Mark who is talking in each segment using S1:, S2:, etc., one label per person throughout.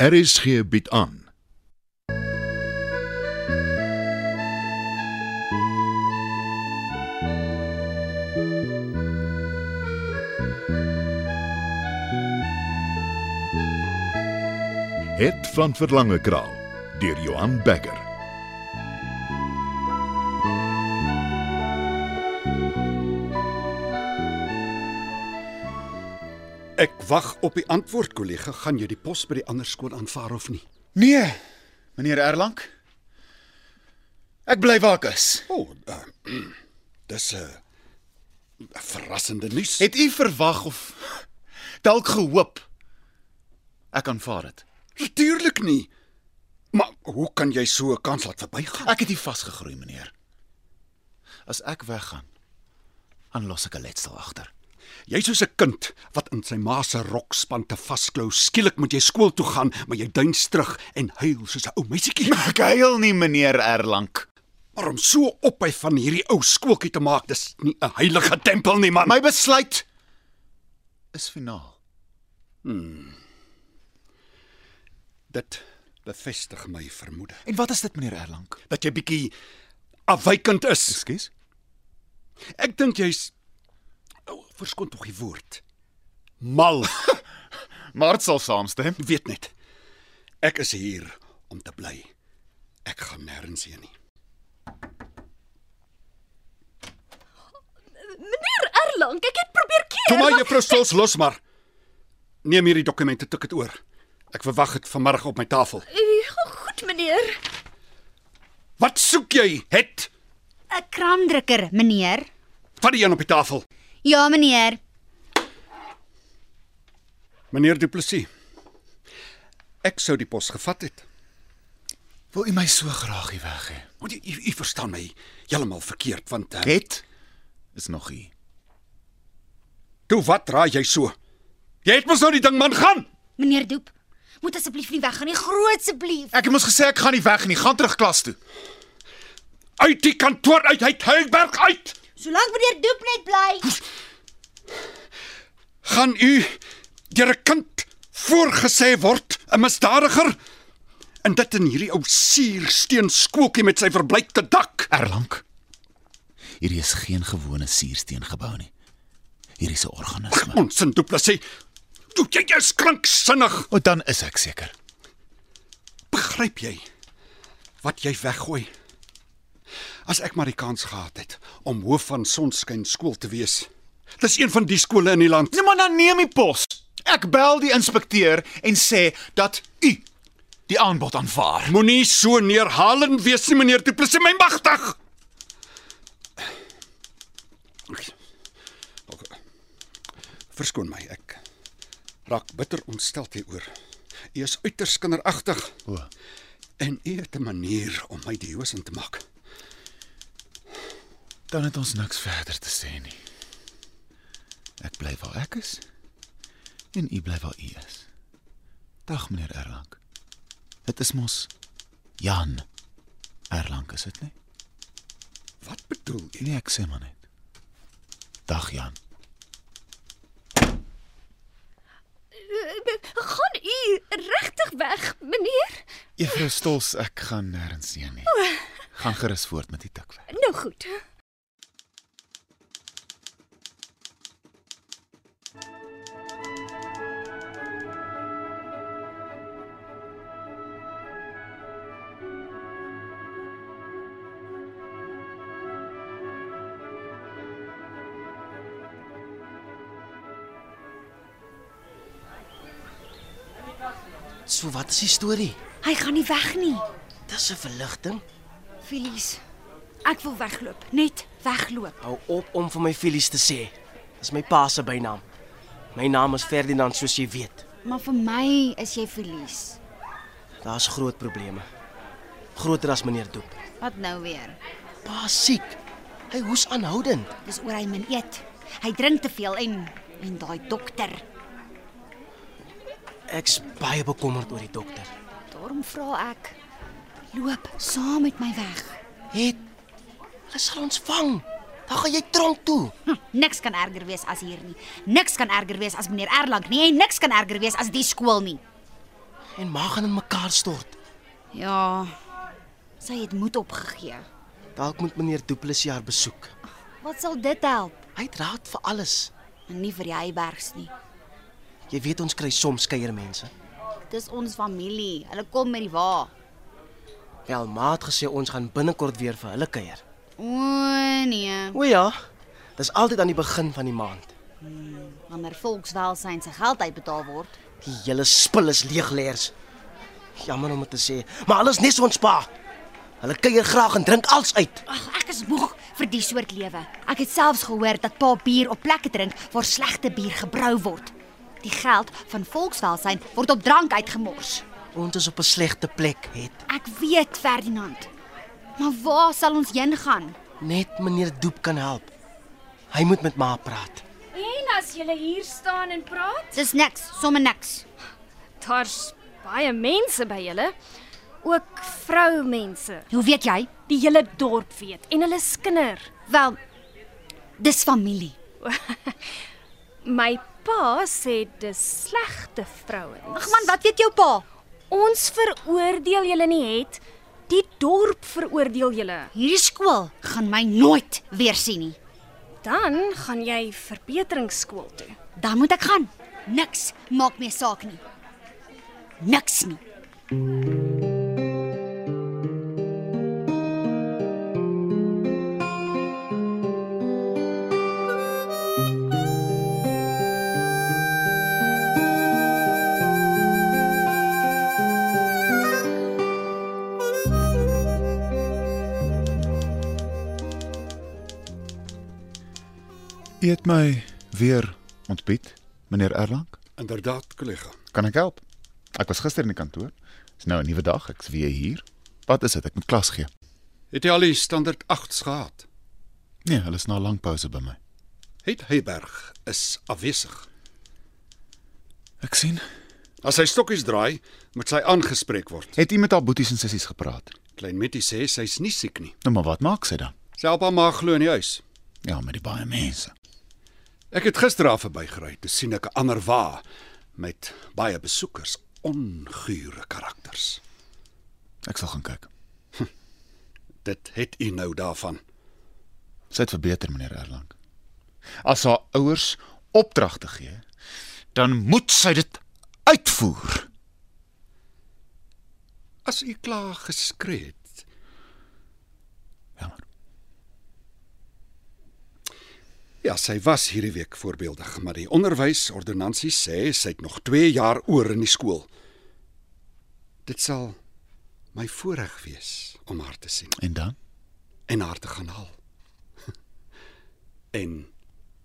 S1: RSG bied aan. Het van Verlange Kraal deur Johan Becker.
S2: Ek wag op die antwoord, kollega. Gaan jy die pos by die ander skool aanvaar of nie?
S3: Nee, meneer Erlang. Ek bly waar ek is.
S2: O, oh, uh, dis 'n uh, verrassende nuus. Het
S3: Het u verwag of dalk gehoop ek aanvaar dit?
S2: natuurlik nie. Maar hoe kan jy so 'n kans laat verbygaan?
S3: Ek het hier vasgegroei, meneer. As ek weggaan, dan los ek 'n letsel agter.
S2: Jy's soos 'n kind wat in sy ma se rokspan te vasklou. Skielik moet jy skool toe gaan, maar jy duins terug en huil soos 'n ou meisietjie.
S3: Ek huil nie, meneer Erlang.
S2: Maar om so ophef van hierdie ou skooltjie te maak, dis nie 'n heilige tempel nie, man.
S3: My besluit is finaal.
S2: dit bevestig my vermoede
S3: En wat is dit, meneer Erlang?
S2: dat jy bietjie afwykend is.
S3: Ekskuus?
S2: Ek dink jy's oh, verskoon tog die woord. Mal,
S3: Maar dit sal saamstem.
S2: weet net. Ek is hier om te bly. Ek gaan nêrens heen nie.
S4: Meneer Erlang, ek het probeer keer.
S2: Toe maar
S4: maar-
S2: juffrou Stols los maar. Neem hierdie dokumente tik dit oor. Ek verwag dit vanmiddag op my tafel.
S4: Eh, Goed, meneer.
S2: Wat soek jy? Het
S5: 'n Kraamdrukker, meneer.
S2: vat die een op die tafel.
S5: Ja, meneer.
S2: Meneer Du Plessis. Ek sou die pos gevat het.
S3: Wil u my so graag hier weg hê?
S2: Want jy, jy, jy verstaan my heeltemal verkeerd want uh,
S3: Het is nog u.
S2: toe wat raai jy so? Jy het mos nou die ding man gaan.
S5: Meneer Doep, moet asseblief nie weggaan nie, groot asseblief.
S3: Ek het mos gesê ek gaan nie weg nie, gaan terug klas toe.
S2: Uit die kantoor uit, uit Heidelberg uit.
S5: Solank meneer Doep net bly.
S2: gaan u deur 'n kind voorgesê word 'n misdadiger en dit in hierdie ou suursteen skooltjie met sy verbleikte dak.
S3: Erlang. Hierdie is geen gewone suursteen gebou nie. Hierdie is 'n organisme.
S2: Ons in Duplessis. Jy jy is kranksinnig.
S3: O, dan is ek seker.
S2: Begryp jy wat jy weggooi? As ek maar die kans gehad het om hoof van Sonskyn skool te wees. Dis een van die skole in die land.
S3: Nee, maar dan neem die pos. Ek bel die inspekteur en sê dat u die aanbod aanvaar.
S2: Moenie so neerhalend wees nie, meneer Du Plessis, my magtig. Verskoon my, ek raak bitter ontstel hieroor. U is uiters kinderagtig
S3: O,
S2: en u het 'n manier om my die hoes in te maak.
S3: dan het ons niks verder te sê nie. Ek bly waar ek is en u bly waar u is. Dag meneer Erlang. Dit is mos Jan Erlang is dit nie?
S2: Wat bedoel u?
S3: Nee, ek sê maar net. Dag Jan.
S4: Eh, Gaan u regtig weg, meneer?
S3: Juffrou Stols, ek gaan nêrens heen nie. Gaan gerus voort met die tikwerk.
S4: Nou goed.
S6: So wat is die storie?
S5: Hy gaan nie weg nie.
S6: Dis 'n verligting.
S5: Felies, ek wil wegloop, net wegloop.
S6: Hou op om vir my Felies te sê. Dis my pa se bynaam. My naam is Ferdinand soos jy weet.
S5: Maar vir my is jy Felies.
S6: Daar's groot probleme. Groter as meneer Doep.
S5: Wat nou weer?
S6: Pa is siek. Hy hoes aanhoudend.
S5: Dis oor hy min eet. Hy drink te veel en en daai dokter.
S6: Ek's baie bekommerd oor die dokter.
S5: Daarom vra ek, loop saam met my weg.
S6: Het hulle sal ons vang. Dan gaan jy tronk toe.
S5: Hm, niks kan erger wees as hier nie. Niks kan erger wees as meneer Erlang nie en niks kan erger wees as die skool nie.
S6: en ma gaan in mekaar stort.
S5: Ja. Sy het moed opgegee.
S6: Dalk moet meneer Du Plessis haar besoek.
S5: Wat sal dit help?
S6: Hy het raad vir alles.
S5: En nie vir die Heybergs nie.
S6: Jy weet ons kry soms kuiermense.
S5: Dis ons familie. Hulle kom met die wa.
S6: Wel, ma het gesê ons gaan binnekort weer vir hulle kuier.
S5: O nee.
S6: O ja, dis altyd aan die begin van die maand.
S5: Wanneer volkswelsyn se geld uitbetaal word.
S6: Die hele spul is leegleers. Jammer om dit te sê, maar alles nes ons pa. Hulle kuier graag en drink als uit.
S5: Ag, ek is moeg vir die soort lewe. Ek het selfs gehoor dat pa bier op plekke drink waar slegte bier gebrou word. Die geld van volkswelsyn word op drank uitgemors.
S6: Ons is op 'n slegte plek, het.
S5: Ek weet, Ferdinand. Maar waar sal ons heen gaan?
S6: Net meneer Doep kan help. Hy moet met ma praat.
S4: En as jy hier staan en praat,
S5: Dis niks, sommer niks.
S4: daar's baie mense by julle, ook vroumense.
S5: Hoe weet jy?
S4: Die hele dorp weet en hulle skinder.
S5: Wel, dis familie.
S4: My pa sê dis slegte vrouens.
S5: Ag man, wat weet jou pa?
S4: Ons veroordeel julle nie het. Die dorp veroordeel julle.
S5: Hierdie skool gaan my nooit weer sien nie.
S4: Dan gaan jy verbeteringsskool toe.
S5: Dan moet ek gaan. Niks maak meer saak nie. Niks nie.
S3: Eet my weer ontbyt, meneer Erlang?
S2: Inderdaad, kollega.
S3: Kan ek help? Ek was gister in die kantoor. Dis nou 'n nuwe dag, ek's weer hier. Wat is dit? Ek moet klas gee.
S2: Het jy al die standaard 8s gehad?
S3: Nee, hulle is na 'n lang pouse by my.
S2: Het Heyberg is afwesig.
S3: Ek sien.
S2: As hy stokkies draai, moet sy aangespreek word.
S3: Het u met haar boeties en sissies gepraat?
S2: Klein Mitty sê sy's nie siek nie.
S3: Nou maar wat maak sy dan?
S2: Sy help haar ma glo in die huis.
S3: Ja, met die baie mense.
S2: Ek het gister daar verbygery, toe sien ek 'n ander wa met baie besoekers, ongure karakters.
S3: Ek sal gaan kyk.
S2: Dit het u nou daarvan.
S3: Sy het verbeter, meneer Erlang. As haar ouers opdragte gee, dan moet sy dit uitvoer.
S2: As u klaar geskree het,
S3: Jammer.
S2: ja, sy was hierdie week voorbeeldig, maar die onderwysordonnansie sê sy het nog 2 jaar oor in die skool. Dit sal my voorreg wees om haar te sien
S3: En dan?
S2: en haar te gaan haal. En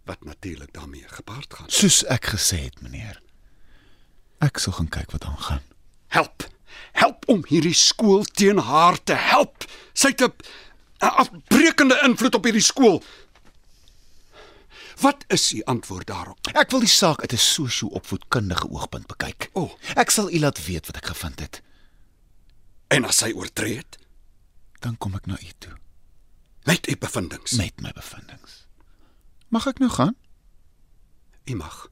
S2: wat natuurlik daarmee gepaard gaan.
S3: Soos ek gesê het, meneer. Ek sal gaan kyk wat aangaan.
S2: Help. Help om hierdie skool teen haar te help. Sy het 'n 'n afbreekende invloed op hierdie skool. Wat is u antwoord daarop?
S3: Ek wil die saak uit 'n sosio-opvoedkundige oogpunt bekyk.
S2: O.
S3: ek sal u laat weet wat ek gevind het.
S2: En as sy oortree het
S3: Dan kom ek na u toe
S2: met u bevindinge.
S3: met my bevindinge. Mag ek nou gaan?
S2: U mag.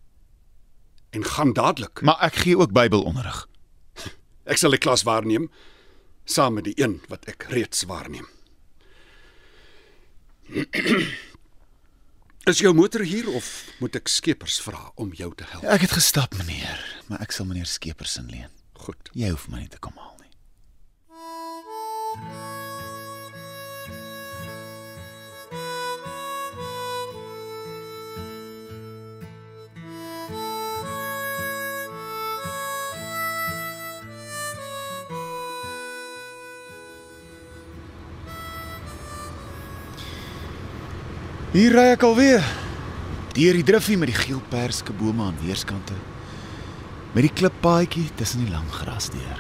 S2: En gaan dadelik.
S3: Maar ek gee ook Bybelonderrig.
S2: Ek sal die klas waarneem saam met die een wat ek reeds waarneem. Is jou motor hier of moet ek skeepers vra om jou te help?
S3: Ek het gestap, meneer, maar ek sal meneer Skeepers inleen.
S2: Goed.
S3: Jy hoef my nie te kom haal nie. Hier ry ek alweer. Deur die drifie met die geel perskebome aan weerskante met die klippaadjie tussen die lang gras deur.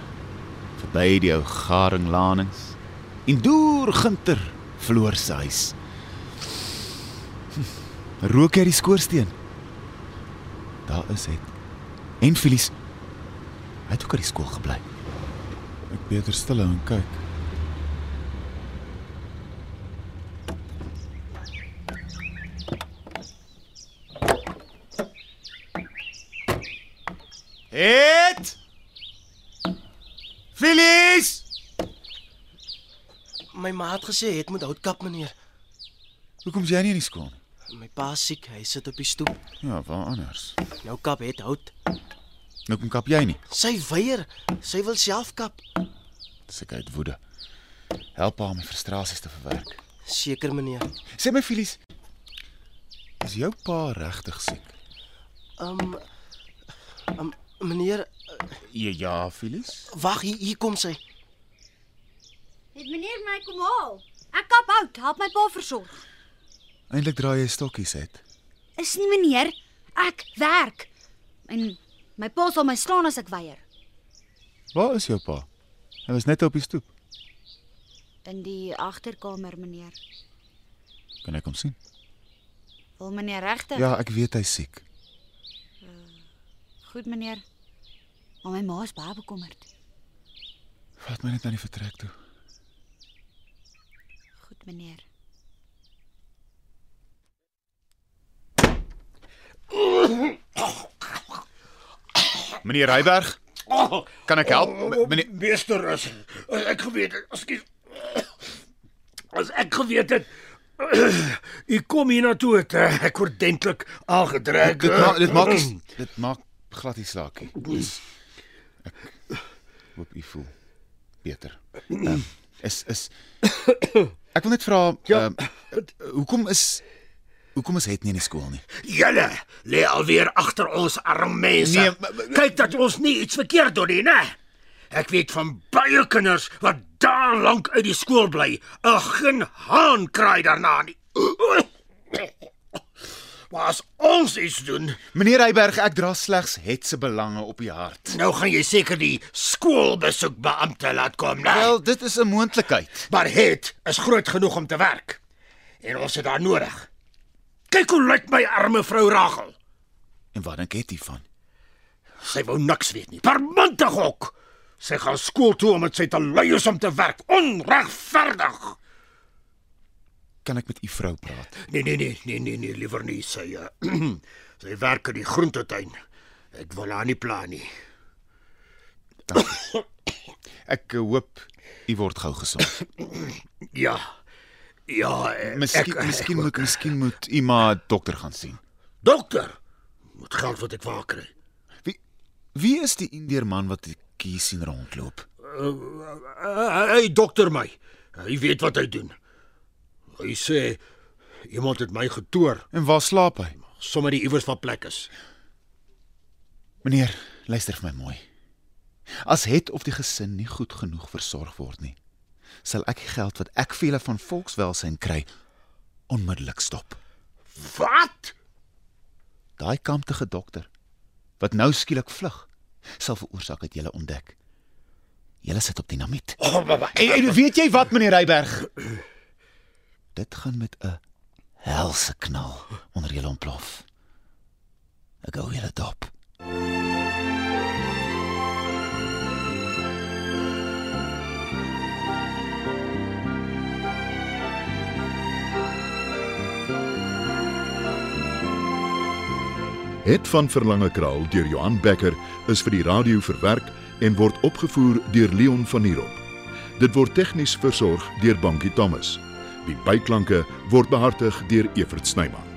S3: Verby die ou garinglanings en deur ginter verloor sy huis. Hm, Rook uit die skoorsteen. Daar is dit. En Felies. Hy het ook by die skool gebly. Ek beter stil en kyk. Het Phyllis!
S6: My ma het gesê het moet houtkap meneer.
S3: Hoekom is jy nie in die skool nie?
S6: My pa is siek, hy sit op die stoep.
S3: Ja, waar anders?
S6: Nou kap het hout.
S3: Hoekom Nou kap jy nie?
S6: Sy weier. Sy wil self kap.
S3: Dis ek uit woede. Help haar om my frustrasies te verwerk.
S6: Seker meneer.
S3: Sê my Phyllis, is jou pa regtig siek?
S6: Um um meneer,
S3: Ja, ja, Phyllis.
S6: wag hier, hier kom sy.
S4: Het meneer my kom haal? Ek kap hout, help my pa versorg.
S3: Eintlik draai jy stokkies uit.
S4: Is nie meneer, ek werk. En my pa sal my slaan as ek weier.
S3: Waar is jou pa? Hy was net op die stoep.
S4: In die agterkamer, meneer.
S3: Kan ek hom sien?
S4: Wil meneer regtig?
S3: Ja, ek weet hy's siek.
S4: Goed, meneer. Maar my ma is baie bekommerd.
S3: Vat my net aan die vertrek toe.
S4: Goed, meneer.
S3: Meneer Reiberg,
S7: Oh,
S3: kan ek help? M- Meneer
S7: meester is as ek geweet het, ekskuus. As ek geweet het u kom hiernatoe het eh, ek ordentlik aangetrek.
S3: dit maak dit maak nie- dit maak glad nie saak nie. Dis- Ek hoop u voel beter. Ehm, Is is Ek wil net vra
S7: Ja.
S3: ehm, hoekom is hoekom is het nie in die skool nie?
S7: Julle lê alweer agter ons arm mense.
S3: Nee, maar- maar-
S7: Kyk dat ons nie iets verkeerd doen nie, né? Ek weet van baie kinders wat daar lank uit die skool bly, 'n geen haan kraai daarna nie. Maar as ons iets doen,
S3: Meneer Reiberg, ek dra slegs het se belange op die hart.
S7: nou gaan jy seker die skoolbesoekbeampte laat kom, né?
S3: Wel, dit is 'n moontlikheid.
S7: Maar het is groot genoeg om te werk. En ons het haar nodig. Kyk hoe lyk my arme vrou Ragel.
S3: En wat dink het u van?
S7: Sy wou niks weet nie. Permantig ook. Sy gaan skool toe omdat sy te lui is om te werk. Onregverdig.
S3: Kan ek met u vrou praat?
S7: Nee nee nee nee nee nee liewer nie sy. Uh, sy werk in die groentetuin. Ek wil haar nie pla nie.
S3: Ek eh, hoop u word gou gesond.
S7: Ja. Ja, eh,
S3: Miskien
S7: ek, eh,
S3: miskien
S7: ek,
S3: moet miskien moet u maar 'n dokter gaan sien.
S7: dokter. Moet geld wat ek waar kry.
S3: Wie wie is die Indiër man wat die kie sien rondloop?
S7: Uh, hy dokter my. Hy weet wat hy doen. Hy sê iemand het my getoer
S3: En waar slaap hy?
S7: sommer die iewers van plek is.
S3: Meneer, luister vir my mooi. As het of die gesin nie goed genoeg versorg word nie, sal ek die geld wat ek vir julle van volkswelsyn kry onmiddellik stop.
S7: Wat?
S3: Daai kamptige dokter wat nou skielik vlug, sal veroorsaak dat julle ontdek. Julle sit op dinamiet.
S7: Oh, baba.
S3: En, en weet jy wat meneer Reiberg? Dit gaan met 'n helse knal onder julle ontplof. Ek hou julle dop.
S1: Het van Verlange Kraal deur Johan Becker is vir die radio verwerk en word opgevoer deur Leon Van Heerop. Dit word tegnies versorg deur Bankie Thomas. Die byklanke word behartig deur Evert Snyman.